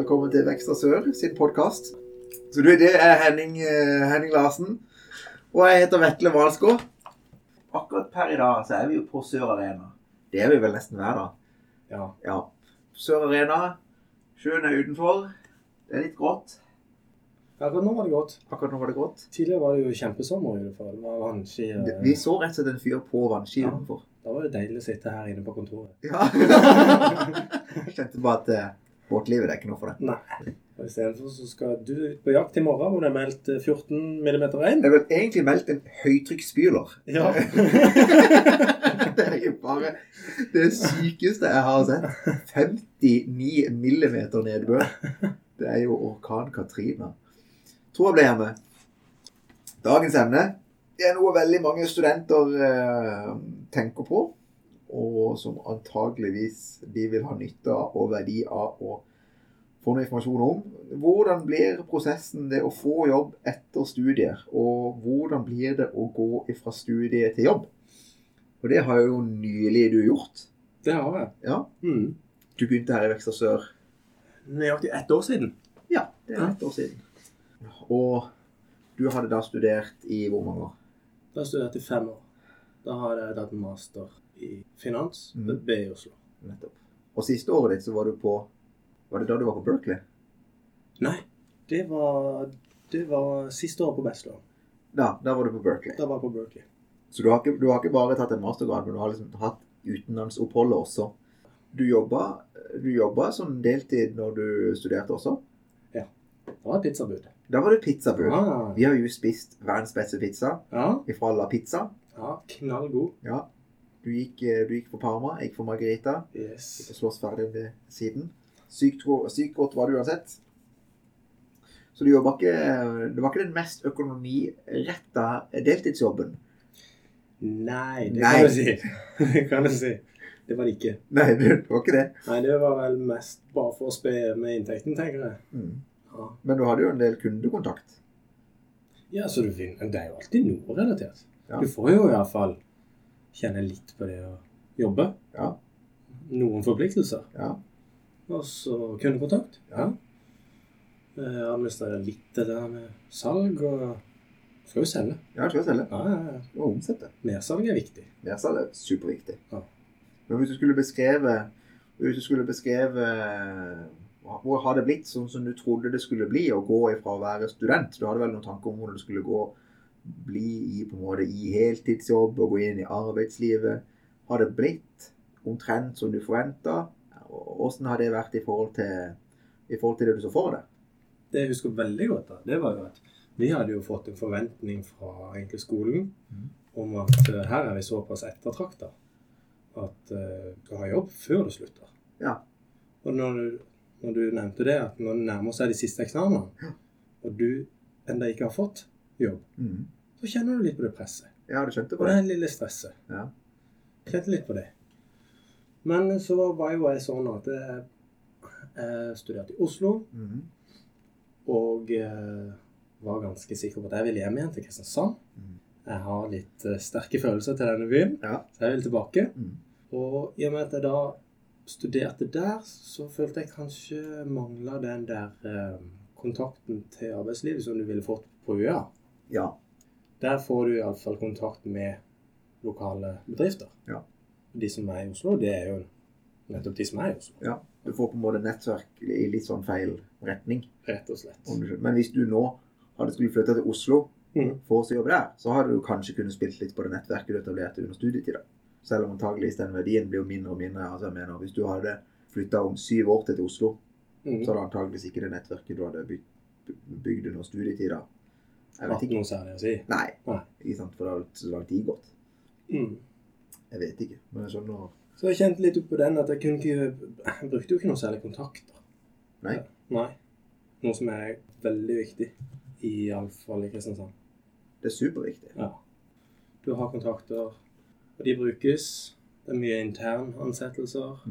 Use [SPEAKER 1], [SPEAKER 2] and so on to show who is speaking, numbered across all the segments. [SPEAKER 1] Ekstra Sør sin podkast. Så du, det er Henning, eh, Henning Larsen. Og jeg heter Vetle Hvalsgaard. Akkurat per i dag så er vi jo på Sør Arena. Det er vi vel nesten hver dag.
[SPEAKER 2] Ja.
[SPEAKER 1] Ja. Sør Arena. Sjøen er utenfor. Det er litt grått.
[SPEAKER 2] Akkurat nå var det godt.
[SPEAKER 1] Akkurat nå var det grått.
[SPEAKER 2] Tidligere var det jo kjempesommer i hvert fall. Det var vanskelig. eh,
[SPEAKER 1] Vi så rett og slett en fyr på vannski
[SPEAKER 2] Ja.
[SPEAKER 1] utenfor.
[SPEAKER 2] Da var det deilig å sitte her inne på kontoret.
[SPEAKER 1] Ja. Kjente bare at eh, båtlivet det er ikke noe for deg.
[SPEAKER 2] Og i stedet for så skal du ut på jakt i morgen, hvor det er meldt eh, 14 millimeter regn.
[SPEAKER 1] Det er vel egentlig meldt en høytrykksspyler.
[SPEAKER 2] Ja.
[SPEAKER 1] Det er jo bare det sykeste jeg har sett. 59 millimeter nedbør. Det er jo orkan Katrina. Tror jeg ble hjemme. Dagens emne det er noe veldig mange studenter eh, tenker på, og som antageligvis de vil ha nytte av og verdi av å få noe informasjon om. Hvordan blir prosessen det å få jobb etter studier, og hvordan blir det å gå fra studie til jobb? Og det har jo nylig du gjort.
[SPEAKER 2] Det har jeg.
[SPEAKER 1] Ja,
[SPEAKER 2] Mm.
[SPEAKER 1] Du begynte her i Vekstra Sør.
[SPEAKER 2] Nøyaktig ett år siden.
[SPEAKER 1] Ja, det er ett år siden. Og du hadde da studert i hvor mange år?
[SPEAKER 2] Da studerte jeg i fem år. Da har jeg tatt en master i finans
[SPEAKER 1] Mm.
[SPEAKER 2] ved BI Oslo.
[SPEAKER 1] Nettopp. Og siste året ditt så var du på Var det da du var på Berkeley?
[SPEAKER 2] Nei, det var, det var siste året på bachelor.
[SPEAKER 1] Ja, da var du på Berkeley.
[SPEAKER 2] Da var jeg på Berkeley.
[SPEAKER 1] Så du har ikke, du har ikke bare tatt en mastergrad, men du har liksom hatt utenlandsoppholdet også. Du jobba, du jobba som deltid når du studerte også.
[SPEAKER 2] Det var et pizzabud.
[SPEAKER 1] Da var det pizzabud.
[SPEAKER 2] Ah.
[SPEAKER 1] Vi har jo spist verdens beste pizza
[SPEAKER 2] Ja.
[SPEAKER 1] ifra La Pizza.
[SPEAKER 2] ja, knallgod.
[SPEAKER 1] Ja. Du gikk, eh, du gikk for Parma, jeg gikk for Margarita.
[SPEAKER 2] Yes.
[SPEAKER 1] Ikke slåss ferdig med siden. Sykt, go- sykt godt var det uansett. Så det var ikke, det var ikke den mest økonomiretta deltidsjobben.
[SPEAKER 2] Nei, det
[SPEAKER 1] Nei.
[SPEAKER 2] kan du si. Det kan du si. Det var det ikke.
[SPEAKER 1] Nei, det var ikke det.
[SPEAKER 2] Nei, det var vel mest bare for å spe med inntekten, tenker jeg.
[SPEAKER 1] Mm.
[SPEAKER 2] Ja,
[SPEAKER 1] Men du hadde jo en del kundekontakt.
[SPEAKER 2] ja så du finner, det er jo alltid noe relatert.
[SPEAKER 1] Ja.
[SPEAKER 2] Du får jo i hvert fall kjenne litt på det å jobbe.
[SPEAKER 1] Ja.
[SPEAKER 2] Noen forpliktelser.
[SPEAKER 1] ja.
[SPEAKER 2] Og så kundekontakt.
[SPEAKER 1] Ja.
[SPEAKER 2] Eh, Administrere litt det der med salg og Skal jo selge.
[SPEAKER 1] Ja, du skal selge
[SPEAKER 2] Ja, ja, ja.
[SPEAKER 1] og omsette.
[SPEAKER 2] Nedsalg er viktig.
[SPEAKER 1] Nedsalg er superviktig.
[SPEAKER 2] Ja.
[SPEAKER 1] Men hvis du skulle beskrevet Hvis du skulle beskrevet hvor har det blitt sånn som du trodde det skulle bli å gå ifra å være student? Du hadde vel noen tanker om hvordan du skulle gå bli i, på en måte, i heltidsjobb og gå inn i arbeidslivet. Har det blitt omtrent som du forventa? Åssen har det vært i forhold til, i forhold til det du så for deg?
[SPEAKER 2] Det jeg husker veldig godt, da, det var jo at vi hadde jo fått en forventning fra egentlig skolen
[SPEAKER 1] Mhm.
[SPEAKER 2] om at eh, her er vi såpass ettertrakta at eh, du skal ha jobb før du slutter.
[SPEAKER 1] Ja.
[SPEAKER 2] Og når du, når du nevnte det, at når det nærmer seg de siste eksamenene, og du ennå ikke har fått jobb,
[SPEAKER 1] Mm.
[SPEAKER 2] så kjenner du litt på det presset.
[SPEAKER 1] Ja, du skjønte
[SPEAKER 2] Og
[SPEAKER 1] på det?
[SPEAKER 2] det lille stresset.
[SPEAKER 1] Ja.
[SPEAKER 2] Kjente litt på det. Men så var jo jeg sånn at jeg, jeg studerte i Oslo.
[SPEAKER 1] Mm.
[SPEAKER 2] Og eh, var ganske sikker på at jeg ville hjem igjen til Kristiansand.
[SPEAKER 1] Mm.
[SPEAKER 2] Jeg har litt eh, sterke følelser til denne byen,
[SPEAKER 1] Ja.
[SPEAKER 2] så jeg vil tilbake.
[SPEAKER 1] Mm.
[SPEAKER 2] Og i og med at jeg da studerte der, så følte jeg kanskje mangla den der eh, kontakten til arbeidslivet som du ville fått på UiA.
[SPEAKER 1] ja.
[SPEAKER 2] Der får du iallfall kontakt med lokale bedrifter.
[SPEAKER 1] Ja.
[SPEAKER 2] De som er i Oslo, det er jo nettopp de som er i Oslo.
[SPEAKER 1] Ja. Du får på en måte nettverk i litt sånn feil retning.
[SPEAKER 2] Rett og slett.
[SPEAKER 1] Om du skjønner. Men hvis du nå hadde skulle flytte til Oslo
[SPEAKER 2] Mhm.
[SPEAKER 1] for å jobbe der, så hadde du kanskje kunnet spilt litt på det nettverket du etablerte under studietida. Selv om antageligvis den verdien blir jo mindre og mindre. Altså jeg mener, Hvis du hadde flytta om syv år til til Oslo,
[SPEAKER 2] Mm.
[SPEAKER 1] så hadde antageligvis ikke det nettverket du hadde byg- bygd under studietida Jeg vet
[SPEAKER 2] Hatt
[SPEAKER 1] ikke.
[SPEAKER 2] noe særlig å si.
[SPEAKER 1] Nei.
[SPEAKER 2] Nei.
[SPEAKER 1] Ikke sant? For det har så lang tid gått.
[SPEAKER 2] Mm.
[SPEAKER 1] Jeg vet ikke. Men sånn jeg skjønner
[SPEAKER 2] Så jeg kjente litt på den at jeg kunne ikke Jeg brukte jo ikke noe særlig kontakter.
[SPEAKER 1] Nei.
[SPEAKER 2] Nei. Noe som er veldig viktig, iallfall i Kristiansand.
[SPEAKER 1] Det er superviktig.
[SPEAKER 2] Ja. Du har kontakter, og de brukes. Det er mye internansettelser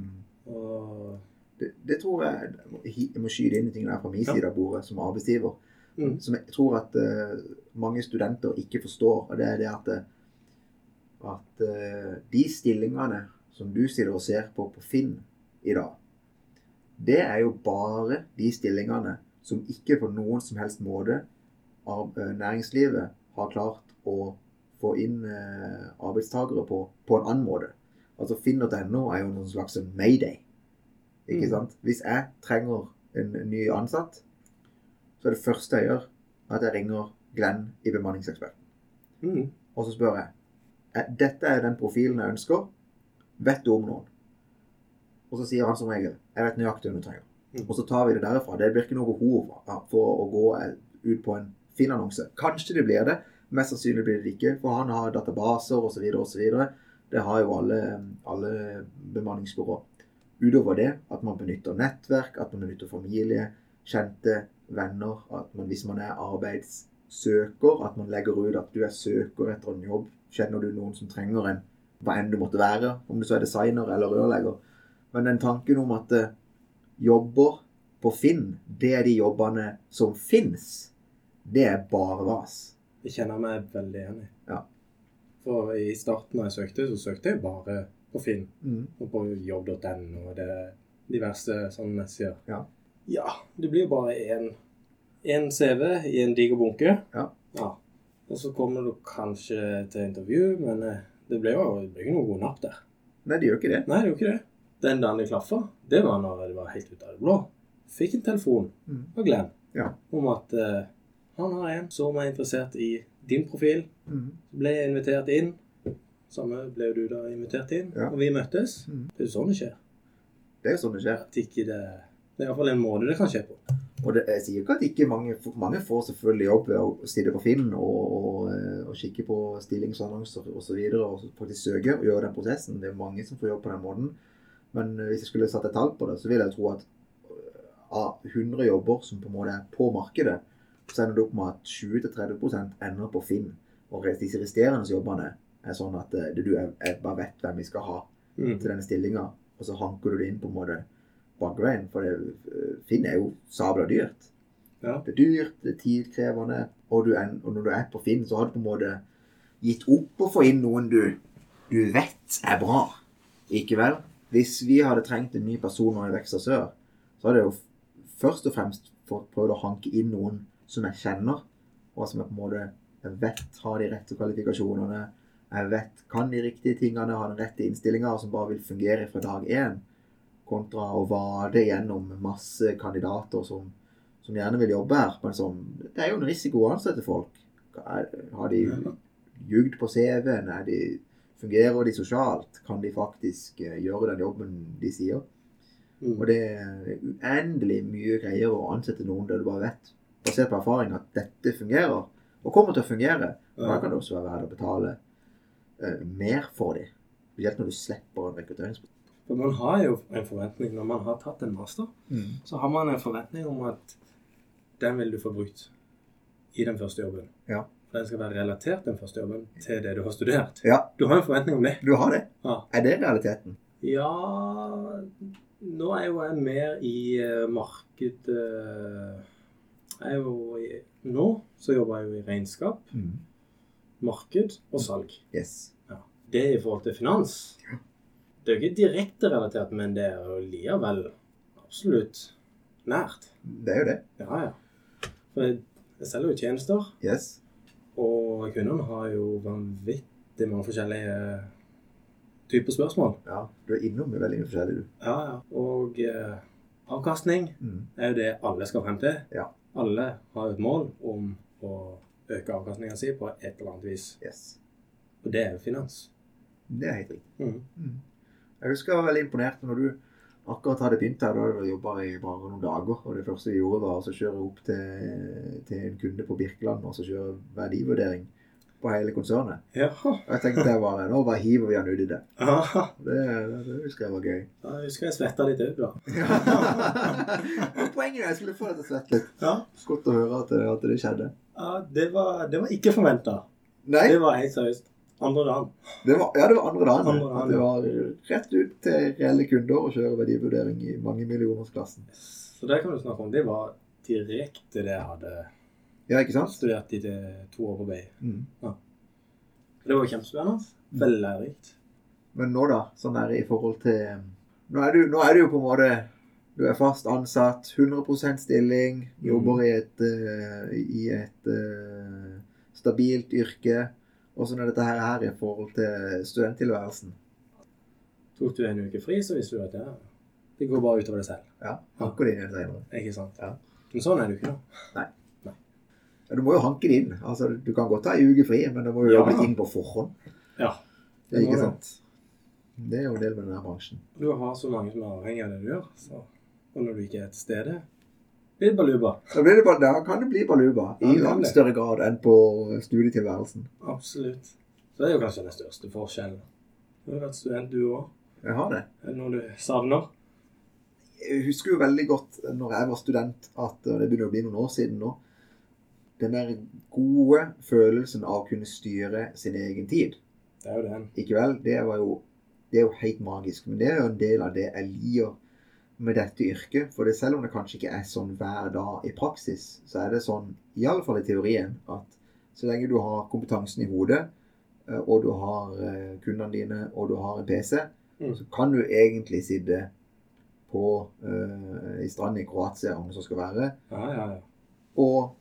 [SPEAKER 2] og
[SPEAKER 1] Det, det tror jeg Jeg må skyte inn i tingene her fra min
[SPEAKER 2] Ja.
[SPEAKER 1] side av bordet som arbeidsgiver.
[SPEAKER 2] mm.
[SPEAKER 1] som jeg tror at eh, mange studenter ikke forstår, og det er det at, eh, at eh, de stillingene som du sitter og ser på på Finn i dag, det er jo bare de stillingene som ikke på noen som helst måte av eh, næringslivet har klart å få inn eh, arbeidstagere på, på en annen måte. Altså Finn.no er jo noen slags en mayday. Ikke
[SPEAKER 2] Mm.
[SPEAKER 1] sant? Hvis jeg trenger en ny ansatt, så er det første jeg gjør, at jeg ringer Glenn i Bemanningseksperten.
[SPEAKER 2] Mm.
[SPEAKER 1] Og så spør jeg «Er- Dette er den profilen jeg ønsker. Vet du om noen? Og så sier han som regel Jeg vet nøyaktig hva du trenger.
[SPEAKER 2] Mm.
[SPEAKER 1] Og så tar vi det derfra. Det blir ikke noe behov for- for å gå eh, ut på en fin annonse. Kanskje det blir det. Mest sannsynlig blir det ikke, for han har databaser osv. osv. Det har jo alle, alle bemanningsbyråer. Utover det at man benytter nettverk, at man benytter familie, kjente, venner. At man, hvis man er arbeidssøker, at man legger ut at du er søker etter en jobb. Kjenner du noen som trenger en, hva enn du måtte være, om du så er designer eller rørlegger. Men den tanken om at eh, jobber på Finn, det er de jobbene som fins, det er bare vas.
[SPEAKER 2] Jeg kjenner meg veldig enig.
[SPEAKER 1] Ja.
[SPEAKER 2] For i starten da jeg søkte, så søkte jeg bare på Finn
[SPEAKER 1] Mm.
[SPEAKER 2] og på jobb.no og det diverse sånne nettsider.
[SPEAKER 1] Ja.
[SPEAKER 2] ja. Det blir bare én én CV i en diger bunke.
[SPEAKER 1] Ja.
[SPEAKER 2] ja. Og så kommer du kanskje til intervju, men eh, det ble jo det ble ikke noe god napp der.
[SPEAKER 1] Nei, de gjør ikke det.
[SPEAKER 2] Nei, det er jo ikke det. Den dagen det klaffa, det var når det var helt ut av det blå. Fikk en telefon
[SPEAKER 1] Mm.
[SPEAKER 2] fra Glenn
[SPEAKER 1] Ja.
[SPEAKER 2] om at eh, han har en som er interessert i din profil.
[SPEAKER 1] Mm.
[SPEAKER 2] Så ble jeg invitert inn. Samme ble du da invitert inn,
[SPEAKER 1] Ja.
[SPEAKER 2] og vi møttes.
[SPEAKER 1] Mm.
[SPEAKER 2] Det er jo sånn det skjer.
[SPEAKER 1] Det er jo sånn det skjer.
[SPEAKER 2] At ikke det, det er iallfall en måte det kan skje på.
[SPEAKER 1] Og det, jeg sier ikke at ikke mange, mange får selvfølgelig jobb ved å sitte på Finn og, og, eh, og kikke på stillingsannonser osv. Og, så videre, og så faktisk søke og gjøre den prosessen. Det er mange som får jobb på den måten. Men eh, hvis jeg skulle satt et tall på det, så vil jeg tro at eh, av 100 jobber som på en måte er på markedet, så ender det opp med at 20-30 ender på Finn. Og de resterende jobbene er sånn at eh, du jeg, jeg bare vet hvem vi skal ha
[SPEAKER 2] Mm.
[SPEAKER 1] til denne stillinga, og så hanker du det inn på en måte bakveien. For det, eh, Finn er jo sabla dyrt.
[SPEAKER 2] Ja.
[SPEAKER 1] Det er dyrt, det er tidkrevende, og, du er, og når du er på Finn, så har du på en måte gitt opp å få inn noen du, du vet er bra. Ikke vel? Hvis vi hadde trengt en ny person nå i Vekster Sør, så hadde jeg jo f- først og fremst fått prøvd å hanke inn noen som jeg kjenner, og som jeg på en måte jeg vet har de rette kvalifikasjonene, jeg vet kan de riktige tingene, har den rette innstillinga, og som bare vil fungere fra dag én, kontra å vade gjennom masse kandidater som, som gjerne vil jobbe her, men som Det er jo en risiko å ansette folk. Er, har de jugd på CV-en? Er de, fungerer de sosialt? Kan de faktisk eh, gjøre den jobben de sier?
[SPEAKER 2] Mm.
[SPEAKER 1] Og det er uendelig mye greier å ansette noen der du bare vet, basert på erfaring, at dette fungerer, og kommer til å fungere. Og da kan det også være verdt å betale eh, mer for dem. Spesielt når du slipper en rekrutteringsprosess.
[SPEAKER 2] For man har jo en forventning når man har tatt en master,
[SPEAKER 1] Mm.
[SPEAKER 2] så har man en forventning om at den vil du få brukt i den første jobben.
[SPEAKER 1] Ja.
[SPEAKER 2] For den skal være relatert den første jobben til det du har studert.
[SPEAKER 1] Ja,
[SPEAKER 2] Du har en forventning om det.
[SPEAKER 1] du har det.
[SPEAKER 2] Ja.
[SPEAKER 1] Er det realiteten?
[SPEAKER 2] Ja Nå er jo jeg mer i eh, marked eh, Jeg er jo i, Nå så jobber jeg jo i regnskap,
[SPEAKER 1] Mm.
[SPEAKER 2] marked og salg.
[SPEAKER 1] Yes.
[SPEAKER 2] Det er i forhold til finans. Det er jo ikke direkte relatert, men det er jo likevel absolutt nært.
[SPEAKER 1] Det er jo det.
[SPEAKER 2] Ja, ja. For jeg, jeg selger jo tjenester,
[SPEAKER 1] Yes.
[SPEAKER 2] og kundene har jo vanvittig mange forskjellige typer spørsmål.
[SPEAKER 1] Ja, du er innom med veldig mye forskjellig, du.
[SPEAKER 2] Ja, ja. Og eh, avkastning
[SPEAKER 1] Mm.
[SPEAKER 2] er jo det alle skal frem til.
[SPEAKER 1] Ja.
[SPEAKER 2] Alle har et mål om å øke avkastningen sin på et eller annet vis.
[SPEAKER 1] Yes.
[SPEAKER 2] Og det er jo finans.
[SPEAKER 1] Det er helt riktig.
[SPEAKER 2] Mm.
[SPEAKER 1] Jeg husker jeg var veldig imponert når du akkurat hadde begynt her. Da hadde du jobba i bare noen dager. Og det første vi gjorde, var å kjøre opp til, til en kunde på Birkeland og så kjøre verdivurdering på hele konsernet.
[SPEAKER 2] Jaha.
[SPEAKER 1] Og jeg tenkte jeg bare Nå bare hiver vi han uti det.
[SPEAKER 2] Aha.
[SPEAKER 1] Det, det, det husker jeg var gøy.
[SPEAKER 2] Da husker jeg svetta litt òg, da.
[SPEAKER 1] Ja. Poenget er jeg skulle få deg til å svette litt.
[SPEAKER 2] Ja.
[SPEAKER 1] Godt å høre at det, at det skjedde.
[SPEAKER 2] Ja, det var, det var ikke forventa.
[SPEAKER 1] Nei,
[SPEAKER 2] Det var helt seriøst. Andre dagen.
[SPEAKER 1] det var, ja, det var andre dagen.
[SPEAKER 2] Andre dagen,
[SPEAKER 1] At det var rett ut til reelle kunder og kjøre verdivurdering i mange millionersklassen.
[SPEAKER 2] Så det kan du snakke om. Det var direkte det jeg hadde
[SPEAKER 1] Ja, ikke sant?
[SPEAKER 2] studert i de to år på BI.
[SPEAKER 1] Mm.
[SPEAKER 2] Det var kjempespennende. Veldig lærerikt.
[SPEAKER 1] Men nå, da? Sånn er det i forhold til nå er, du, nå er du jo på en måte Du er fast ansatt, 100 stilling,
[SPEAKER 2] Mm.
[SPEAKER 1] jobber i et, eh, i et eh, stabilt yrke. Åssen er dette her, her i forhold til studenttilværelsen?
[SPEAKER 2] Tok du en uke fri, så visste du at ja, det går bare utover deg selv.
[SPEAKER 1] Ja, Hanker det inn igjen senere.
[SPEAKER 2] Ikke sant?
[SPEAKER 1] Ja.
[SPEAKER 2] Men sånn er det jo ikke, da.
[SPEAKER 1] Ja, Du må jo hanke det inn. Altså, du kan godt ta ei uke fri, men det må jo
[SPEAKER 2] Ja.
[SPEAKER 1] jobbe inn på forhånd.
[SPEAKER 2] Ja.
[SPEAKER 1] Det er
[SPEAKER 2] må
[SPEAKER 1] ikke
[SPEAKER 2] det.
[SPEAKER 1] sant. Det er jo en del med denne bransjen.
[SPEAKER 2] Du har så mange som er avhengig av det du gjør, så. og når du ikke er til stede blir det baluba.
[SPEAKER 1] Da, blir det bare, da kan det bli baluba
[SPEAKER 2] Ja,
[SPEAKER 1] i
[SPEAKER 2] det kan
[SPEAKER 1] langt
[SPEAKER 2] det.
[SPEAKER 1] større grad enn på studietilværelsen.
[SPEAKER 2] Absolutt. Så det er jo kanskje den største forskjellen. Du har vært student, du òg.
[SPEAKER 1] Jeg har det.
[SPEAKER 2] Er det noe du savner?
[SPEAKER 1] Jeg husker jo veldig godt når jeg var student, at og det begynner å bli noen år siden nå, den der gode følelsen av å kunne styre sin egen tid.
[SPEAKER 2] Det er jo den.
[SPEAKER 1] Ikke vel? Det, var jo, det er jo helt magisk. Men det er jo en del av det jeg liker med dette yrket. For det, selv om det kanskje ikke er sånn hver dag i praksis, så er det sånn, i alle fall i teorien, at så lenge du har kompetansen i hodet, eh, og du har eh, kundene dine, og du har en PC,
[SPEAKER 2] Mm.
[SPEAKER 1] så kan du egentlig sitte på eh, i stranden i Kroatia, om det så skal være,
[SPEAKER 2] Ja, ja, ja.
[SPEAKER 1] og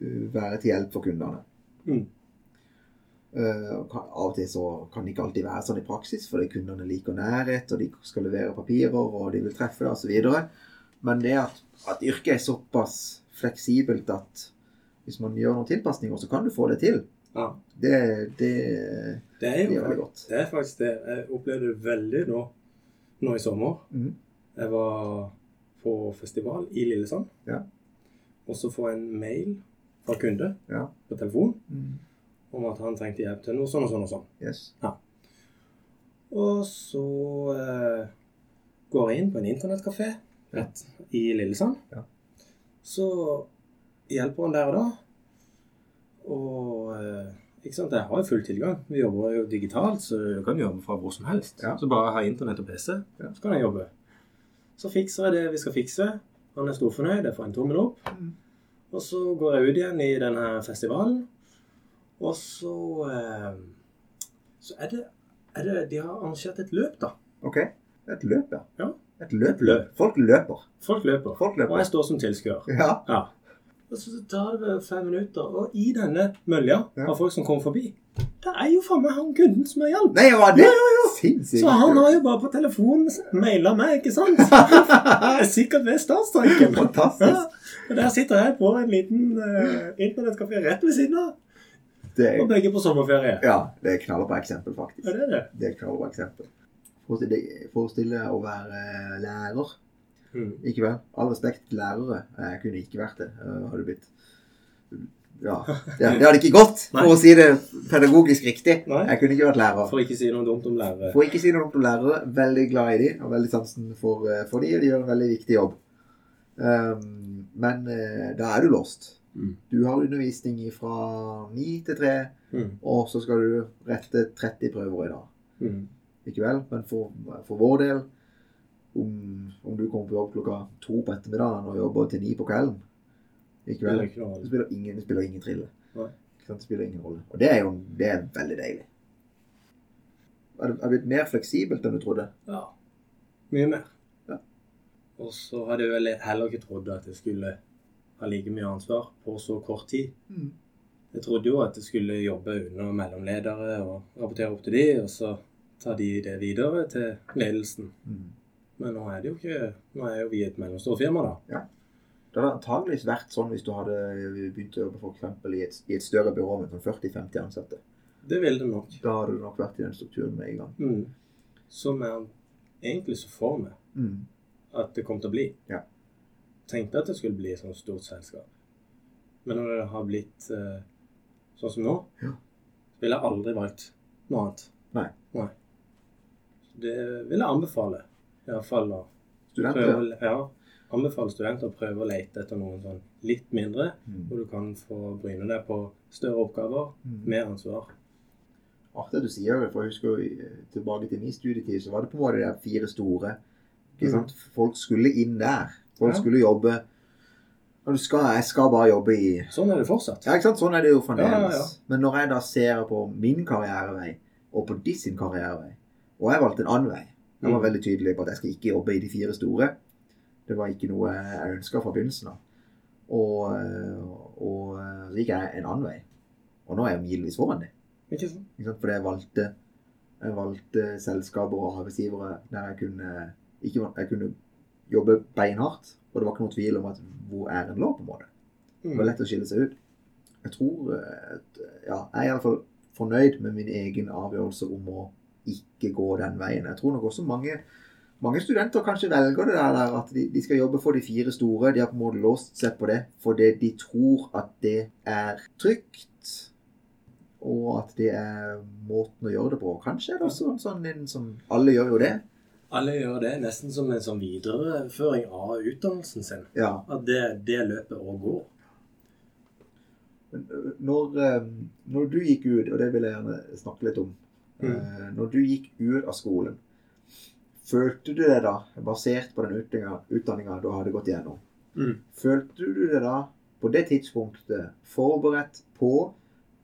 [SPEAKER 1] eh, være til hjelp for kundene.
[SPEAKER 2] Mm.
[SPEAKER 1] Eh, og kan- av og til så kan det ikke alltid være sånn i praksis, fordi kundene liker nærhet, og de skal levere papirer, og de vil treffe deg, osv. Men det at, at yrket er såpass fleksibelt at hvis man gjør noen tilpasninger, så kan du få det til.
[SPEAKER 2] ja.
[SPEAKER 1] Det, det,
[SPEAKER 2] Det
[SPEAKER 1] det
[SPEAKER 2] er
[SPEAKER 1] er
[SPEAKER 2] jo
[SPEAKER 1] veldig godt.
[SPEAKER 2] Det er faktisk det. Jeg opplevde det veldig nå, nå i sommer.
[SPEAKER 1] Mhm.
[SPEAKER 2] Jeg var på festival i Lillesand.
[SPEAKER 1] Ja.
[SPEAKER 2] Og så får jeg en mail fra kunde
[SPEAKER 1] Ja.
[SPEAKER 2] på telefon
[SPEAKER 1] Mm.
[SPEAKER 2] om at han trengte hjelp til noe sånn og sånn og sånn.
[SPEAKER 1] Yes.
[SPEAKER 2] Og så eh, går jeg inn på en internettkafé rett i Lillesand.
[SPEAKER 1] Ja.
[SPEAKER 2] Så hjelper han der og da. Og eh, ikke sant, jeg har jo full tilgang. Vi jobber jo digitalt, så du kan jobbe fra hvor som helst.
[SPEAKER 1] Ja.
[SPEAKER 2] Så bare ha internett og PC,
[SPEAKER 1] Ja.
[SPEAKER 2] så kan jeg jobbe. Så fikser jeg det vi skal fikse. Han er storfornøyd. Jeg får en tommel opp. Og så går jeg ut igjen i denne festivalen, og så eh, Så er det, er det De har arrangert et løp, da.
[SPEAKER 1] OK. Et løp,
[SPEAKER 2] Ja.
[SPEAKER 1] Et løp,
[SPEAKER 2] Løp.
[SPEAKER 1] Folk løper.
[SPEAKER 2] Folk løper.
[SPEAKER 1] Folk
[SPEAKER 2] Og jeg
[SPEAKER 1] løper.
[SPEAKER 2] står som tilskuer.
[SPEAKER 1] Ja.
[SPEAKER 2] Ja. Og så tar det vel fem minutter, og i denne mølja
[SPEAKER 1] Ja.
[SPEAKER 2] av folk som kommer forbi, det er jo faen meg han kunden som er hjelp.
[SPEAKER 1] Nei, hva er det? Sinnssykt.
[SPEAKER 2] Så han har jo bare på telefonen maila meg, ikke sant? Jeg er sikkert ved startstreken. Ja.
[SPEAKER 1] Fantastisk.
[SPEAKER 2] Og der sitter jeg på en liten uh, internettkafé rett ved siden av,
[SPEAKER 1] Det
[SPEAKER 2] og
[SPEAKER 1] er,
[SPEAKER 2] begge på sommerferie.
[SPEAKER 1] ja, det er knallbra eksempel, faktisk.
[SPEAKER 2] Ja, det er det.
[SPEAKER 1] Det er et knallbra eksempel. Forestill deg- Forestill deg å være eh, lærer.
[SPEAKER 2] Mm.
[SPEAKER 1] Ikke vel? All respekt til lærere. Jeg kunne ikke vært det. eh, Hadde blitt Ja. Det, det hadde ikke gått, for
[SPEAKER 2] Nei.
[SPEAKER 1] å si det pedagogisk riktig.
[SPEAKER 2] Nei.
[SPEAKER 1] Jeg kunne ikke vært lærer.
[SPEAKER 2] For ikke si noe dumt om lærere.
[SPEAKER 1] Får ikke si noe dumt om lærere. Veldig glad i de, og veldig sansen for, eh, for de, og de gjør en veldig viktig jobb. Ehm, men eh, da er du låst.
[SPEAKER 2] Mm.
[SPEAKER 1] Du har undervisning fra ni til tre,
[SPEAKER 2] Mm.
[SPEAKER 1] og så skal du rette 30 prøver i dag.
[SPEAKER 2] Mm.
[SPEAKER 1] Ikke vel? Men for, for vår del, om, om du kommer på jobb klokka to på ettermiddagen og jobber til ni på kvelden, ikke
[SPEAKER 2] Det
[SPEAKER 1] vel?
[SPEAKER 2] er ikke noe
[SPEAKER 1] Det
[SPEAKER 2] annet.
[SPEAKER 1] spiller ingen, det spiller ingen trille.
[SPEAKER 2] Nei.
[SPEAKER 1] Ikke sant? Det spiller ingen rolle. Og det er jo det er veldig deilig. Er det er det blitt mer fleksibelt enn du trodde?
[SPEAKER 2] Ja. Mye mer.
[SPEAKER 1] Ja.
[SPEAKER 2] Og så hadde jeg vel heller ikke trodd at jeg skulle ha like mye ansvar på så kort tid. Jeg trodde jo at jeg skulle jobbe under mellomledere og rapportere opp til de, og så ta de det videre til ledelsen.
[SPEAKER 1] Mm.
[SPEAKER 2] Men nå er det jo ikke Nå er jo vi et mellomstort firma, da.
[SPEAKER 1] Det hadde antageligvis vært sånn hvis du hadde begynt å jobbe for eksempel i et, i et større byrå med sånn 40-50 ansatte.
[SPEAKER 2] Det vil det nok.
[SPEAKER 1] Da hadde du nok vært i den strukturen med en gang.
[SPEAKER 2] Mm. Som jeg egentlig så for meg
[SPEAKER 1] Mm.
[SPEAKER 2] at det kom til å bli.
[SPEAKER 1] Ja.
[SPEAKER 2] Tenkte at det skulle bli et sånt stort selskap. Men når det har blitt eh, sånn som nå,
[SPEAKER 1] Ja.
[SPEAKER 2] ville jeg aldri valgt noe annet.
[SPEAKER 1] Nei.
[SPEAKER 2] Så Det vil jeg anbefale. I hvert fall å prøve,
[SPEAKER 1] Studenter.
[SPEAKER 2] å- ja, anbefale studenter å prøve å lete etter noen sånn litt mindre,
[SPEAKER 1] Mm.
[SPEAKER 2] hvor du kan få bryne deg på større oppgaver,
[SPEAKER 1] Mm.
[SPEAKER 2] mer ansvar.
[SPEAKER 1] Artig at du sier det, for jeg husker jo eh, tilbake til min studietid, så var det på en måte de fire store. Ikke
[SPEAKER 2] Mm.
[SPEAKER 1] sant? Folk skulle inn der. Folk
[SPEAKER 2] Ja.
[SPEAKER 1] skulle jobbe ja, du skal, Jeg skal bare jobbe i
[SPEAKER 2] Sånn er det fortsatt.
[SPEAKER 1] Ja, ikke sant? Sånn er det jo
[SPEAKER 2] Ja,
[SPEAKER 1] fremdeles.
[SPEAKER 2] ja, ja.
[SPEAKER 1] Men når jeg da ser på min karrierevei, og på de sin karrierevei Og jeg valgte en annen vei. Jeg var
[SPEAKER 2] Mm.
[SPEAKER 1] veldig tydelig på at jeg skal ikke jobbe i de fire store. Det var ikke noe jeg ønska fra begynnelsen av. Og, eh, og eh, så gikk jeg en annen vei. Og nå er jeg milevis foran dem.
[SPEAKER 2] Ikke sant?
[SPEAKER 1] Ikke sant? Fordi jeg valgte, jeg valgte selskaper og arbeidsgivere der jeg kunne, ikke, var- jeg kunne jobbe beinhardt. Og det var ikke noen tvil om at hvor æren lå, på en måte. Det var lett å skille seg ut. Jeg tror eh, at, ja, jeg er iallfall fornøyd med min egen avgjørelse om å ikke gå den veien. Jeg tror nok også mange, mange studenter kanskje velger det der, der at de, de skal jobbe for de fire store. De har på en måte låst seg på det fordi de tror at det er trygt. Og at det er måten å gjøre det på. Kanskje er det også en sånn en som Alle gjør jo det.
[SPEAKER 2] Alle gjør det nesten som en sånn videreføring av utdannelsen sin.
[SPEAKER 1] Ja.
[SPEAKER 2] At det, det løpet òg går.
[SPEAKER 1] Men, øh, Når, øh, når du gikk ut, og det vil jeg gjerne snakke litt om
[SPEAKER 2] Mm.
[SPEAKER 1] øh, Når du gikk ut av skolen, følte du deg da, basert på den utdanninga du hadde gått gjennom
[SPEAKER 2] Mm.
[SPEAKER 1] Følte du deg da, på det tidspunktet, forberedt på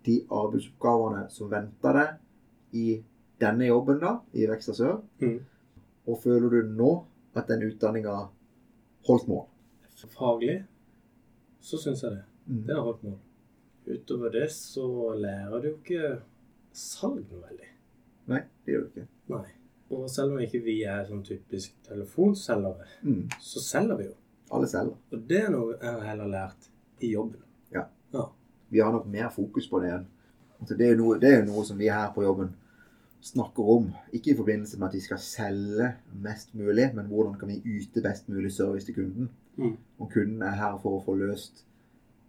[SPEAKER 1] de arbeidsoppgavene som venta deg i denne jobben, da, i Vekstra Sør?
[SPEAKER 2] Mm.
[SPEAKER 1] Og føler du nå at den utdanninga holdt mål?
[SPEAKER 2] Faglig så syns jeg det.
[SPEAKER 1] Mm.
[SPEAKER 2] Det har holdt mål. Utover det så lærer du jo ikke salg noe veldig.
[SPEAKER 1] Nei, det gjør du ikke.
[SPEAKER 2] Nei. Og selv om ikke vi er sånn typisk telefonselgere,
[SPEAKER 1] Mm.
[SPEAKER 2] så selger vi jo.
[SPEAKER 1] Alle selger.
[SPEAKER 2] Og det er noe jeg har heller lært i jobben.
[SPEAKER 1] vi har nok mer fokus på det igjen. Altså, det er jo noe, det er jo noe som vi her på jobben snakker om. Ikke i forbindelse med at vi skal selge mest mulig, men hvordan kan vi yte best mulig service til kunden.
[SPEAKER 2] Mm.
[SPEAKER 1] Og kunden er her for å få løst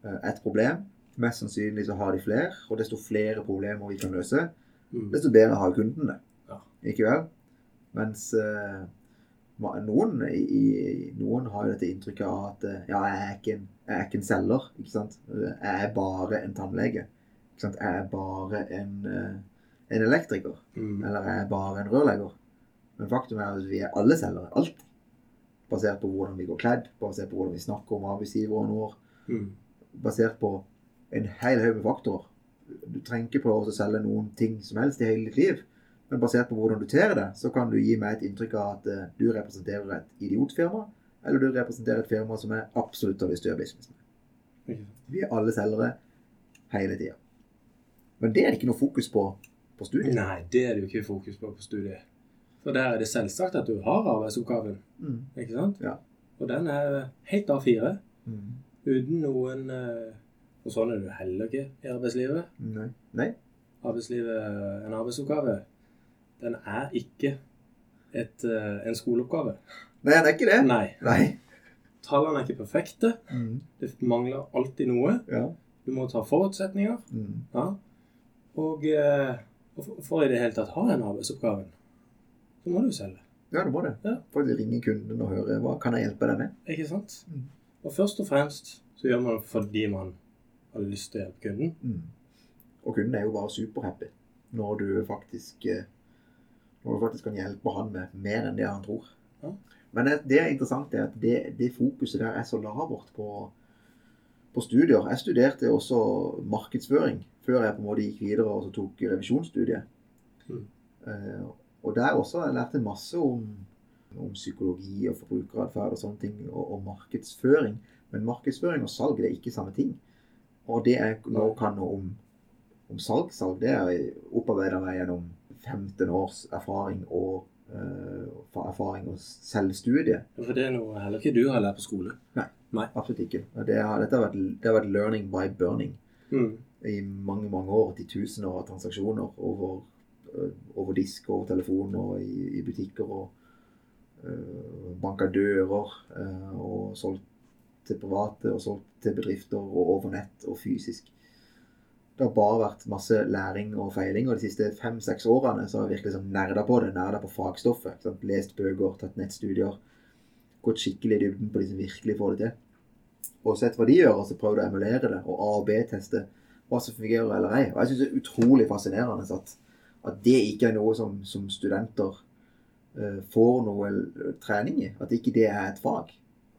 [SPEAKER 1] eh, et problem. Mest sannsynlig så har de flere, og desto flere problemer vi kan løse,
[SPEAKER 2] Mm.
[SPEAKER 1] desto bedre har kunden det.
[SPEAKER 2] Ja.
[SPEAKER 1] Ikke vel? Mens eh, ma- noen, i, i, noen har jo dette inntrykket av at eh, ja, jeg er ikke en, jeg er ikke en selger, ikke sant? Jeg er bare en tannlege. Ikke sant? Jeg er bare en, eh, en elektriker.
[SPEAKER 2] Mm.
[SPEAKER 1] Eller jeg er bare en rørlegger. Men faktum er at vi er alle selgere. Alt. Basert på hvordan vi går kledd, basert på hvordan vi snakker om arbeidsgiveren vår,
[SPEAKER 2] Mm.
[SPEAKER 1] basert på en hel haug med faktorer. Du trenger ikke prøve å selge noen ting som helst i hele ditt liv, men basert på hvordan du ter deg, så kan du gi meg et inntrykk av at eh, du representerer et idiotfirma, eller du representerer et firma som jeg absolutt har lyst til å gjøre business med.
[SPEAKER 2] Ikke sant?
[SPEAKER 1] Vi er alle selgere hele tida. Men det er det ikke noe fokus på på studiet.
[SPEAKER 2] Nei, det er det jo ikke fokus på på studiet. For der er det selvsagt at du har arbeidsoppgaven,
[SPEAKER 1] Mm.
[SPEAKER 2] ikke sant?
[SPEAKER 1] Ja.
[SPEAKER 2] Og den er helt A4,
[SPEAKER 1] Mm.
[SPEAKER 2] uten noen eh, Og sånn er du heller ikke i arbeidslivet.
[SPEAKER 1] Nei. Nei.
[SPEAKER 2] arbeidslivet en arbeidsoppgave, den er ikke et, eh, en skoleoppgave.
[SPEAKER 1] Nei, det er ikke det.
[SPEAKER 2] Nei.
[SPEAKER 1] Nei.
[SPEAKER 2] Tallene er ikke perfekte.
[SPEAKER 1] Mm.
[SPEAKER 2] Det mangler alltid noe.
[SPEAKER 1] Ja.
[SPEAKER 2] Du må ta forutsetninger.
[SPEAKER 1] Mm.
[SPEAKER 2] Ja. Og eh, og for- for i det hele tatt ha en arbeidsoppgave, så må du selge.
[SPEAKER 1] ja, du må det.
[SPEAKER 2] Ja.
[SPEAKER 1] Får ringe kunden og høre hva kan jeg hjelpe deg med.
[SPEAKER 2] Ikke sant?
[SPEAKER 1] Mm.
[SPEAKER 2] Og først og fremst så gjør man det fordi man har lyst til å hjelpe kunden.
[SPEAKER 1] Mm. Og kunden er jo bare superhappy når du faktisk eh, når du faktisk kan hjelpe han med mer enn det han tror.
[SPEAKER 2] Ja.
[SPEAKER 1] Men det, det er interessant er at det, det fokuset der er så lavert på, på studier. Jeg studerte jo også markedsføring før jeg på en måte gikk videre og så tok revisjonsstudiet.
[SPEAKER 2] Mm.
[SPEAKER 1] Eh, og der også har jeg lærte masse om, om psykologi og forbrukeratferd og sånne ting, og, og markedsføring. Men markedsføring og salg det er ikke samme ting. Og det jeg nå kan noe om, om salg, salg det har jeg opparbeida meg gjennom 15 års erfaring og eh, fa- erfaring og selvstudie.
[SPEAKER 2] For det er noe heller ikke du har lært på skole.
[SPEAKER 1] Absolutt ikke. Og Det har, dette har vært, det har vært learning by burning
[SPEAKER 2] Mm.
[SPEAKER 1] i mange mange år. Titusener av transaksjoner over, eh, over disk, over telefon og i, i butikker. og øh, Banka dører eh, og solgt til private og solgt til bedrifter og over nett og fysisk. Det har bare vært masse læring og feiling, og de siste fem-seks årene så har jeg virkelig sånn nerda på det. Nerda på fagstoffet. ikke Sant? Lest bøker, tatt nettstudier. Gått skikkelig i dybden på de som virkelig får det til. Og sett hva de gjør, og så prøvd å emulere det. Og A- og B-teste hva som fungerer eller ei. Og jeg syns det er utrolig fascinerende at, at det ikke er noe som, som studenter eh, får noe l- trening i. At ikke det er et fag.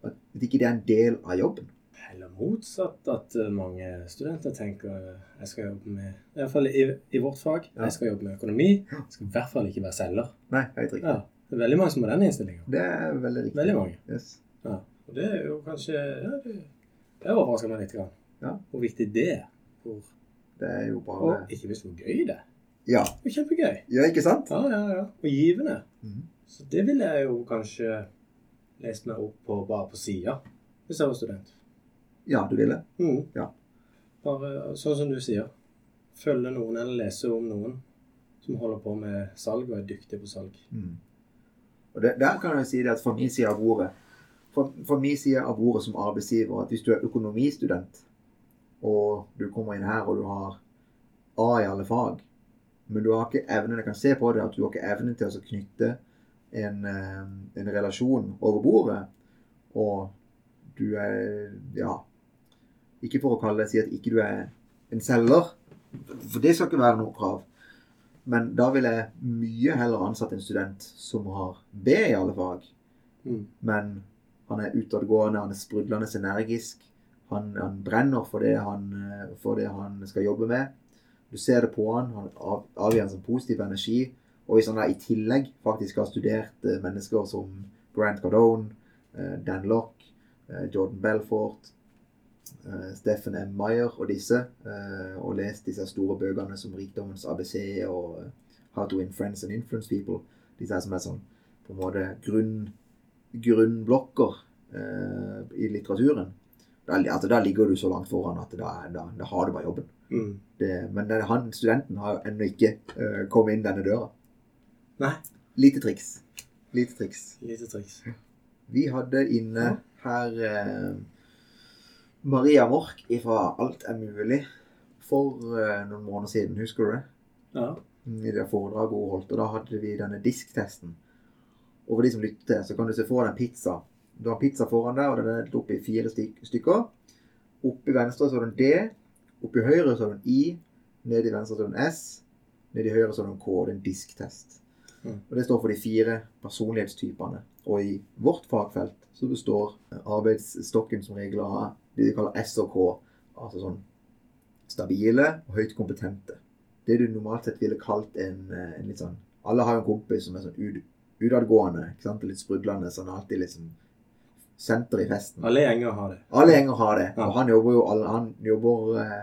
[SPEAKER 1] At ikke det er en del av jobben.
[SPEAKER 2] Heller motsatt at eh, mange studenter tenker eh, jeg skal jobbe med I hvert fall i, i vårt fag.
[SPEAKER 1] Ja.
[SPEAKER 2] Jeg skal jobbe med økonomi. Jeg skal i hvert fall ikke være selger.
[SPEAKER 1] Nei, helt riktig.
[SPEAKER 2] Ja, det er veldig mange som har den innstillinga.
[SPEAKER 1] Det er veldig riktig.
[SPEAKER 2] Veldig mange.
[SPEAKER 1] Yes.
[SPEAKER 2] Og det er jo kanskje ja, Det, det overrasker meg litt. Grann.
[SPEAKER 1] Ja.
[SPEAKER 2] Hvor viktig det er. Hvor,
[SPEAKER 1] Det er jo bare
[SPEAKER 2] og ikke minst hvor gøy det er.
[SPEAKER 1] Ja,
[SPEAKER 2] Det er kjempegøy.
[SPEAKER 1] ja ikke sant?
[SPEAKER 2] Ja, ja, ja. Og givende.
[SPEAKER 1] Mhm.
[SPEAKER 2] Så det ville jeg jo kanskje lest meg opp på bare på sida hvis jeg var student.
[SPEAKER 1] Ja, du ville?
[SPEAKER 2] Mhm.
[SPEAKER 1] Ja.
[SPEAKER 2] Bare sånn som du sier. Følge noen eller lese om noen som holder på med salg og er dyktig på salg.
[SPEAKER 1] Mm. Og det, der kan jeg si det at for min side av ordet for, for min side av ordet som arbeidsgiver at hvis du er økonomistudent, og du kommer inn her og du har A i alle fag, men du har ikke evnen Jeg kan se på det at du har ikke evnen til å knytte en, eh, en relasjon over bordet, og du er Ja. Ikke for å kalle det si at ikke du er en selger, for det skal ikke være noe krav. Men da vil jeg mye heller ansette en student som har B i alle fag, Mm.
[SPEAKER 2] Mhm.
[SPEAKER 1] men han er utadgående, han er sprudlende energisk. Han, han brenner for det han, eh, for det han skal jobbe med. Du ser det på han, han av- avgir en sånn positiv energi. Og hvis han da i tillegg faktisk har studert eh, mennesker som Grant Cardone, eh, Dan Lock, eh, Jordan Belfort, eh, Stephen M. Meyer og disse, eh, og lest disse store bøkene som Rikdommens ABC og eh, How to Win Friends and Influence People, disse her som er sånn på en måte grunn grunnblokker eh, i litteraturen, da, altså, da ligger du så langt foran at da, da, da har du bare jobben.
[SPEAKER 2] Mhm.
[SPEAKER 1] Det, men den, han studenten har jo ennå ikke eh, kommet inn denne døra.
[SPEAKER 2] Nei.
[SPEAKER 1] Lite triks. Lite triks.
[SPEAKER 2] Lite triks.
[SPEAKER 1] Vi hadde inne her eh, Maria Mork fra Alt er mulig for eh, noen måneder siden, husker du det?
[SPEAKER 2] Ja.
[SPEAKER 1] i det foredraget hun holdt, og da hadde vi denne disktesten. Og for de som lytter, så kan du se for deg en pizza. Du har en pizza foran deg, og den er delt opp i fire styk stykker. Oppi venstre så har du en D, oppi høyre så har du en I, nede i venstre så har du en S, nede i høyre så har du en K, og det er en disktest.
[SPEAKER 2] Mm.
[SPEAKER 1] Og det står for de fire personlighetstypene. Og i vårt fagfelt så består arbeidsstokken som regel av det de kaller S og K, altså sånn stabile og høyt kompetente det du normalt sett ville kalt en, eh, en litt sånn Alle har jo en kompis som er sånn ut, utadgående, ikke sant? litt sprudlende, sånn alltid liksom senter i festen.
[SPEAKER 2] Alle gjenger har det.
[SPEAKER 1] Alle gjenger har det,
[SPEAKER 2] Ja.
[SPEAKER 1] og han jobber jo alle- Han jobber eh,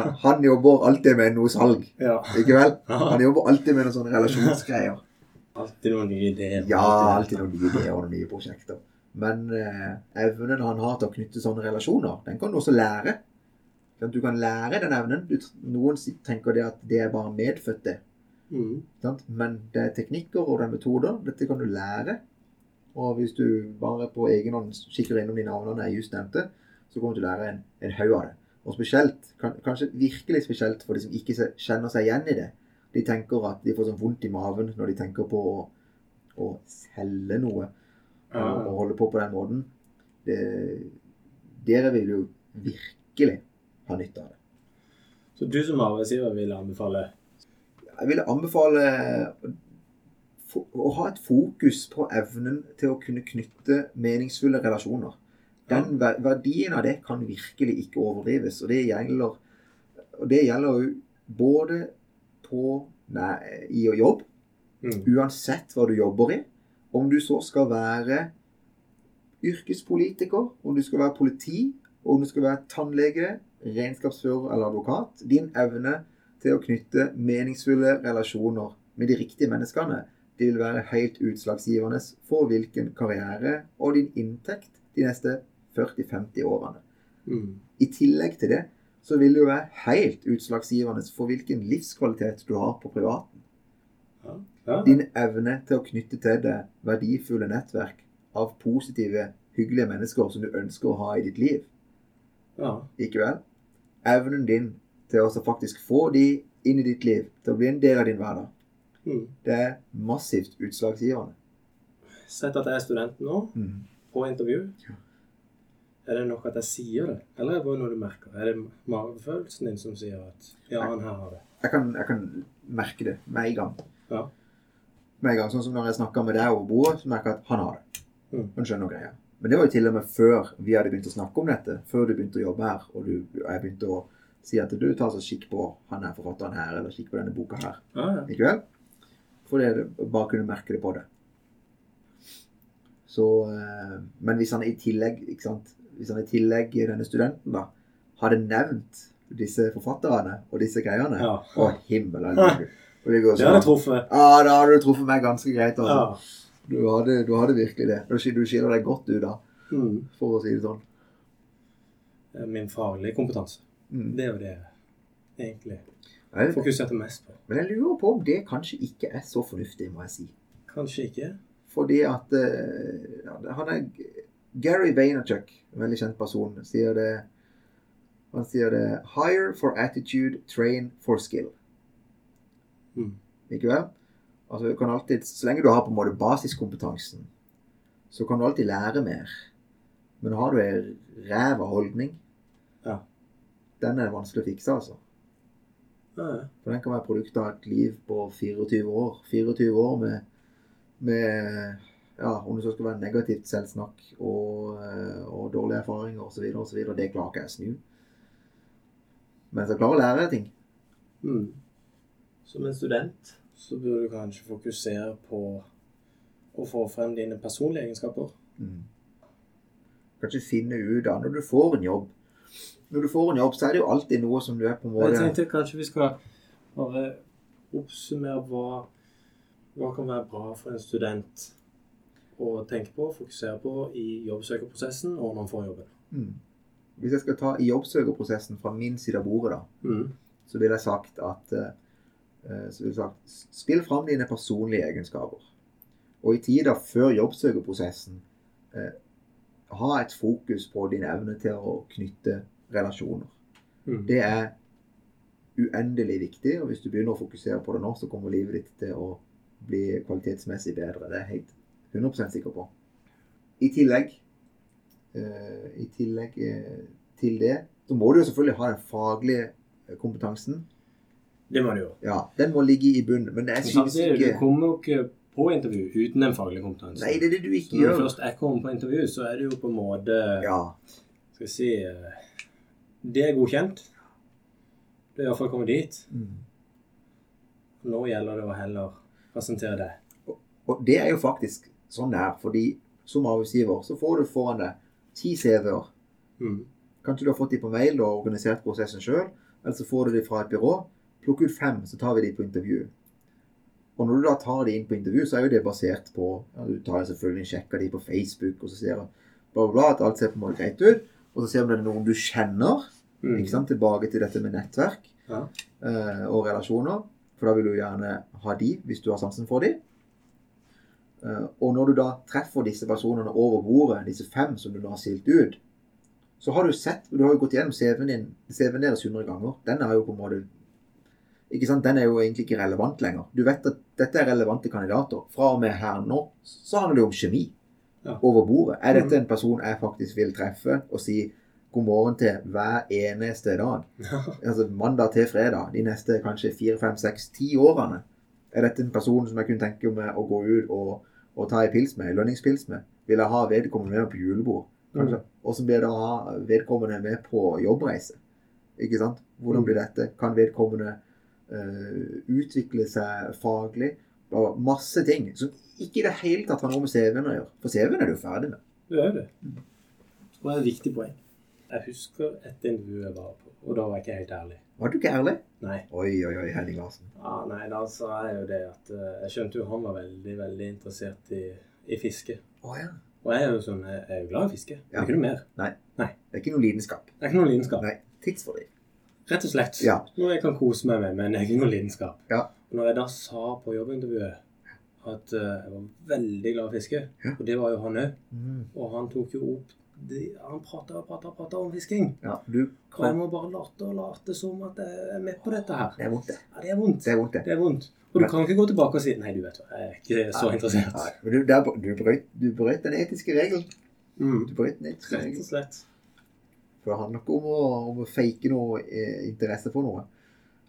[SPEAKER 1] han, han jobber alltid med noe salg,
[SPEAKER 2] Ja.
[SPEAKER 1] ikke vel?
[SPEAKER 2] Ja.
[SPEAKER 1] Han jobber alltid med noen sånne relasjonsgreier.
[SPEAKER 2] Alltid noen nye ideer.
[SPEAKER 1] Ja, alltid noen nye ideer og noen nye prosjekter. Men eh, evnen han har til å knytte sånne relasjoner, den kan du også lære. Sånn at Du kan lære den evnen. Du, tr- noen si- tenker det at det er bare medfødt, det.
[SPEAKER 2] Mhm.
[SPEAKER 1] Sant? Men det er teknikker og det er metoder. Dette kan du lære. Og hvis du bare på egen hånd kikker innom de navnene jeg just nevnte, så kommer du til å lære en, en haug av det. Og spesielt, kan, kanskje virkelig spesielt for de som ikke se, kjenner seg igjen i det. De tenker at de får sånn vondt i maven når de tenker på å, å selge noe
[SPEAKER 2] Ja.
[SPEAKER 1] og, og holde på på den måten. Det, dere vil jo virkelig ha nytte av det.
[SPEAKER 2] Så du som arbeidsgiver vil anbefale
[SPEAKER 1] Jeg ville anbefale eh, fo- å ha et fokus på evnen til å kunne knytte meningsfulle relasjoner. Den ver- verdien av det kan virkelig ikke overdrives, og det gjelder, og det gjelder jo både på, nei, i å jobb,
[SPEAKER 2] Mhm.
[SPEAKER 1] uansett hva du jobber i. Om du så skal være yrkespolitiker, om du skal være politi, om du skal være tannlege, regnskapsfører eller advokat. Din evne til å knytte meningsfulle relasjoner med de riktige menneskene, det vil være helt utslagsgivende for hvilken karriere og din inntekt de neste 40-50 årene.
[SPEAKER 2] Mhm.
[SPEAKER 1] I tillegg til det så vil det jo være helt utslagsgivende for hvilken livskvalitet du har på privat
[SPEAKER 2] Ja. Ja.
[SPEAKER 1] din evne til å knytte til deg verdifulle nettverk av positive, hyggelige mennesker som du ønsker å ha i ditt liv.
[SPEAKER 2] ja.
[SPEAKER 1] Ikke vel? Evnen din til å så faktisk få de inn i ditt liv, til å bli en del av din hverdag,
[SPEAKER 2] Mhm.
[SPEAKER 1] det er massivt utslagsgivende.
[SPEAKER 2] Sett at jeg er student nå, på intervju.
[SPEAKER 1] Ja.
[SPEAKER 2] Er det nok at jeg sier det, eller er det bare noe du merker? Er det magefølelsen din som sier at ja, han her har det?
[SPEAKER 1] Jeg kan, jeg kan merke det med en gang.
[SPEAKER 2] Ja.
[SPEAKER 1] Med en gang, Sånn som når jeg snakker med deg over bordet, så merker jeg at han har det.
[SPEAKER 2] Mm.
[SPEAKER 1] Han skjønner greia. Men det var jo til og med før vi hadde begynt å snakke om dette. Før du begynte å jobbe her, og du, og jeg begynte å si at du tar så kikk på han her forfatteren her, eller kikk på denne boka her.
[SPEAKER 2] Ja, ja.
[SPEAKER 1] Ikke vel? For det, bare kunne merke det på det. Så, eh, men hvis han i tillegg ikke sant? Hvis han i tillegg denne studenten da, hadde nevnt disse forfatterne og disse greiene
[SPEAKER 2] Ja.
[SPEAKER 1] Å, himmel og liv. Og det går
[SPEAKER 2] Det hadde
[SPEAKER 1] sånn.
[SPEAKER 2] jeg truffet.
[SPEAKER 1] Ja, da hadde du truffet meg ganske greit.
[SPEAKER 2] Ja.
[SPEAKER 1] Altså. Du, hadde, du hadde virkelig det. Du skil- Du skiller deg godt ut da,
[SPEAKER 2] Mm.
[SPEAKER 1] for å si det sånn.
[SPEAKER 2] Min faglige kompetanse.
[SPEAKER 1] Mm.
[SPEAKER 2] Det er jo det jeg egentlig
[SPEAKER 1] Jeg-
[SPEAKER 2] fokuserte mest på.
[SPEAKER 1] Men jeg lurer på om det kanskje ikke er så fornuftig, må jeg si.
[SPEAKER 2] Kanskje ikke.
[SPEAKER 1] Fordi at eh, ja, han er Gary Vaynerchuk, en veldig kjent person, sier det Han sier det Hire for attitude, train for skill.
[SPEAKER 2] Mm.
[SPEAKER 1] Ikke vel? Altså, du kan alltid, så lenge du har på en måte basiskompetansen, så kan du alltid lære mer. Men har du ei ræva holdning,
[SPEAKER 2] Ja.
[SPEAKER 1] den er det vanskelig å fikse, altså.
[SPEAKER 2] Ja, ja.
[SPEAKER 1] For den kan være produktet av et liv på 24 år. 24 år med, med ja, om det så skal være negativt selvsnakk og, eh, og dårlige erfaringer osv., osv. Det klarer ikke jeg å snu. Men jeg klarer å lære ting.
[SPEAKER 2] Mm.
[SPEAKER 3] Som en student.
[SPEAKER 2] Så burde du kanskje fokusere på å få frem dine personlige egenskaper.
[SPEAKER 1] Mm. Kanskje finne ut av Når du får en jobb Når du får en jobb, så er det jo alltid noe som du er på en
[SPEAKER 2] Jeg
[SPEAKER 1] måte
[SPEAKER 2] tenkte kanskje vi skal bare oppsummere hva, hva kan være bra for en student å tenke på, fokusere på i jobbsøkerprosessen og når man får jobben.
[SPEAKER 1] Mm. Hvis jeg skal ta i jobbsøkerprosessen fra min side av bordet, da,
[SPEAKER 2] Mm.
[SPEAKER 1] så ville jeg sagt at eh, så ville jeg sagt, Spill fram dine personlige egenskaper. Og i tida før jobbsøkerprosessen, eh, ha et fokus på din evne til å knytte relasjoner.
[SPEAKER 2] Mm.
[SPEAKER 1] Det er uendelig viktig, og hvis du begynner å fokusere på det nå, så kommer livet ditt til å bli kvalitetsmessig bedre. Det er jeg helt 100 sikker på. I tillegg, eh, i tillegg eh, til det, så må du jo selvfølgelig ha den faglige eh, kompetansen.
[SPEAKER 2] Det må du gjøre.
[SPEAKER 1] Ja, den må ligge i bunnen, men det er synes
[SPEAKER 2] Samtidig, du
[SPEAKER 1] ikke
[SPEAKER 2] kommer jo ikke på intervju uten den faglige kompetansen.
[SPEAKER 1] Nei, det er det du
[SPEAKER 2] Så
[SPEAKER 1] ikke
[SPEAKER 2] når du
[SPEAKER 1] gjør.
[SPEAKER 2] først er kommet på intervju, så er det jo på en måte
[SPEAKER 1] Ja,
[SPEAKER 2] Skal vi si eh, Det er godkjent. Du er iallfall kommet dit.
[SPEAKER 1] mm.
[SPEAKER 2] Nå gjelder det å heller presentere det.
[SPEAKER 1] Og det er jo faktisk sånn det er, fordi som arbeidsgiver så får du foran deg ti CV-er.
[SPEAKER 2] Mm.
[SPEAKER 1] Kanskje du har fått de på mail og organisert prosessen sjøl, eller så får du de fra et byrå. Plukk ut fem, så tar vi de på intervju. Og når du da tar de inn på intervju, så er jo det basert på ja, Du tar jo selvfølgelig sjekker de på Facebook, og så ser du bla, bla, bla, at alt ser på en måte greit ut. Og så ser du om det er noen du kjenner.
[SPEAKER 2] Mm.
[SPEAKER 1] Ikke sant? Tilbake til dette med nettverk
[SPEAKER 2] Ja.
[SPEAKER 1] eh, og relasjoner. For da vil du gjerne ha de, hvis du har sansen for de. Eh, og når du da treffer disse personene over bordet, disse fem som du nå har stilt ut, så har du sett Du har jo gått gjennom CV-en din, CV-en deres 100 ganger. Den er jo på en måte ikke sant? Den er jo egentlig ikke relevant lenger. Du vet at dette er relevante kandidater. Fra og med her nå så handler det om kjemi
[SPEAKER 2] Ja.
[SPEAKER 1] over bordet. Er dette
[SPEAKER 2] Mhm.
[SPEAKER 1] en person jeg faktisk vil treffe og si god morgen til hver eneste dag? altså mandag til fredag, de neste kanskje fire, fem, seks, ti årene, er dette en person som jeg kunne tenke meg å gå ut og, og ta en pils med, en lønningspils med? Vil jeg ha vedkommende med på julebord? Kanskje. Og så blir det å ha vedkommende med på jobbreise. Ikke sant? Hvordan blir dette? Kan vedkommende eh, utvikle seg faglig? Og masse ting som ikke i det hele tatt har noe med CV-en å gjøre. For CV-en er du ferdig med.
[SPEAKER 2] Det er det. Det var et viktig poeng. Jeg husker et intervju jeg var på, og da var jeg ikke helt ærlig.
[SPEAKER 1] Var du ikke ærlig?
[SPEAKER 2] Nei.
[SPEAKER 1] Oi, oi, oi, Henning Larsen.
[SPEAKER 2] Ja, nei, da sa jeg jo det at eh, Jeg skjønte jo han var veldig, veldig interessert i, i fiske.
[SPEAKER 1] Å ja.
[SPEAKER 2] Og jeg er jo sånn, jeg er jo glad i fiske. Det
[SPEAKER 1] Ja.
[SPEAKER 2] er ikke noe mer.
[SPEAKER 1] Det er ikke noe lidenskap.
[SPEAKER 2] Det er ikke noe lidenskap.
[SPEAKER 1] Nei. Tidsfordriv.
[SPEAKER 2] Rett og slett.
[SPEAKER 1] Ja.
[SPEAKER 2] Noe jeg kan kose meg med, men jeg er ikke noe lidenskap.
[SPEAKER 1] Ja.
[SPEAKER 2] Og Når jeg da sa på jobbintervjuet at eh, jeg var veldig glad i fiske,
[SPEAKER 1] Ja.
[SPEAKER 2] og det var jo han òg,
[SPEAKER 1] Mm.
[SPEAKER 2] og han tok jo opp de, Han prata og prata og prata om fisking.
[SPEAKER 1] Ja, du
[SPEAKER 2] Og jeg
[SPEAKER 1] kan
[SPEAKER 2] må bare late og late som at jeg er med på dette her.
[SPEAKER 1] Det er vondt, det.
[SPEAKER 2] Ja, det er vondt.
[SPEAKER 1] Det er vondt, det.
[SPEAKER 2] Det er vondt. Og du kan ikke gå tilbake og si 'nei, du vet hva, jeg er ikke så
[SPEAKER 1] Nei.
[SPEAKER 2] interessert'.
[SPEAKER 1] Nei, men du, der, du, brøt, du brøt den etiske regelen.
[SPEAKER 2] Mm.
[SPEAKER 1] Du brøt den etiske
[SPEAKER 2] Rett og
[SPEAKER 1] regelen.
[SPEAKER 2] slett.
[SPEAKER 1] For det handler ikke om å, om å fake noe eh, interesse for noe.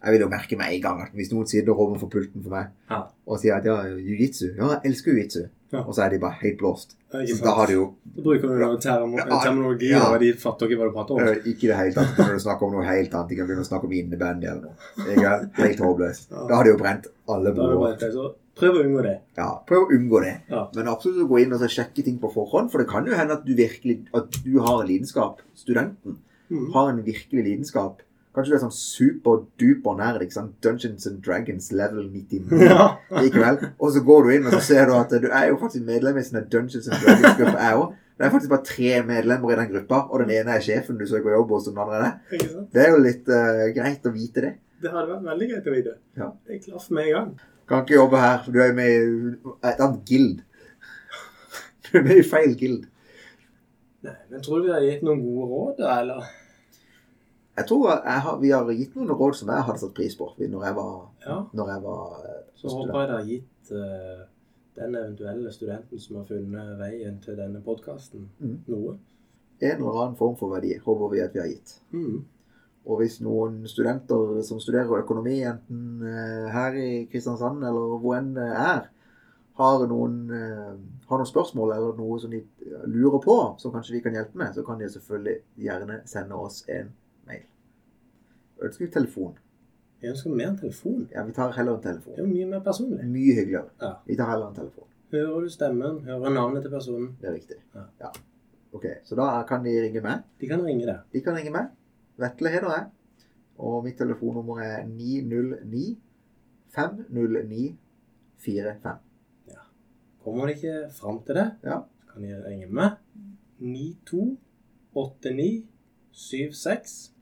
[SPEAKER 1] Jeg vil jo merke med en gang at hvis noen sitter overfor pulten for meg
[SPEAKER 2] Ja.
[SPEAKER 1] og sier at ja, jiu-jitsu, ja, jeg elsker jiu-jitsu,
[SPEAKER 2] Ja.
[SPEAKER 1] og så er de bare helt blåst.
[SPEAKER 2] Det er
[SPEAKER 1] Så
[SPEAKER 2] ikke
[SPEAKER 1] da har
[SPEAKER 2] sant.
[SPEAKER 1] du jo
[SPEAKER 2] Da bruker du noe termo
[SPEAKER 1] Ja.
[SPEAKER 2] terminologi,
[SPEAKER 1] Ja.
[SPEAKER 2] og de fatter ikke hva du prater om.
[SPEAKER 1] eh, ikke i det hele tatt begynner du å snakke om noe helt annet. De kan begynne å snakke om innebandy eller noe. Ikke sant? Helt håpløst. Da har du jo brent alle
[SPEAKER 2] Da er det
[SPEAKER 1] broer.
[SPEAKER 2] bare så Prøv å unngå det.
[SPEAKER 1] Ja, prøv å unngå det.
[SPEAKER 2] Ja.
[SPEAKER 1] Men absolutt å gå inn og så sjekke ting på forhånd, for det kan jo hende at du virkelig at du har en lidenskap. Studenten
[SPEAKER 2] Mm.
[SPEAKER 1] har en virkelig lidenskap. Kanskje du er sånn superduper nerd. ikke sant? Dungeons and Dragons level 99
[SPEAKER 2] Ja.
[SPEAKER 1] likevel. Og så går du inn og så ser du at du er jo faktisk medlem i sånne Dungeons and Dragons-grupper, jeg òg. Det er faktisk bare tre medlemmer i den gruppa, og den ene er sjefen du søker jobb hos. og den andre er det.
[SPEAKER 2] Ikke sant?
[SPEAKER 1] Det er jo litt eh, greit å vite det.
[SPEAKER 2] Det hadde vært veldig greit å vite.
[SPEAKER 1] Ja.
[SPEAKER 2] Det er klart for meg i gang.
[SPEAKER 1] Kan ikke jobbe her, for du er jo med i et annet guild. Du er med i feil guild.
[SPEAKER 2] Nei, men tror du vi har gitt noen gode råd, da, eller?
[SPEAKER 1] Jeg tror at jeg har, vi har gitt noen råd som jeg hadde satt pris på når jeg var,
[SPEAKER 2] Ja.
[SPEAKER 1] når jeg var eh,
[SPEAKER 2] Så håper jeg det har gitt eh, den eventuelle studenten som har funnet veien til denne podkasten,
[SPEAKER 1] Mm.
[SPEAKER 2] noe.
[SPEAKER 1] en eller annen form for verdi, håper vi at vi har gitt.
[SPEAKER 2] Mm.
[SPEAKER 1] Og hvis noen studenter som studerer økonomi, enten eh, her i Kristiansand eller hvor enn det er, har noen, eh, har noen spørsmål eller noe som de eh, lurer på, som kanskje vi kan hjelpe med, så kan de selvfølgelig gjerne sende oss en mail. Ønsker vi telefon?
[SPEAKER 2] Jeg ønsker mer telefon.
[SPEAKER 1] Ja, vi tar heller en
[SPEAKER 2] Det er
[SPEAKER 1] telefon.
[SPEAKER 2] jo mye mer personlig.
[SPEAKER 1] Mye hyggeligere.
[SPEAKER 2] Ja.
[SPEAKER 1] Vi tar heller en telefon.
[SPEAKER 2] Hører du stemmen, hører navnet til personen.
[SPEAKER 1] Det er riktig.
[SPEAKER 2] Ja.
[SPEAKER 1] Ja. Ok, så da kan de ringe meg.
[SPEAKER 2] De kan ringe deg.
[SPEAKER 1] De kan ringe meg. Vetle heter jeg. Og mitt telefonnummer er 909 509 45.
[SPEAKER 2] Kommer de ikke fram til det,
[SPEAKER 1] Ja.
[SPEAKER 2] så kan de ringe meg. 92897689.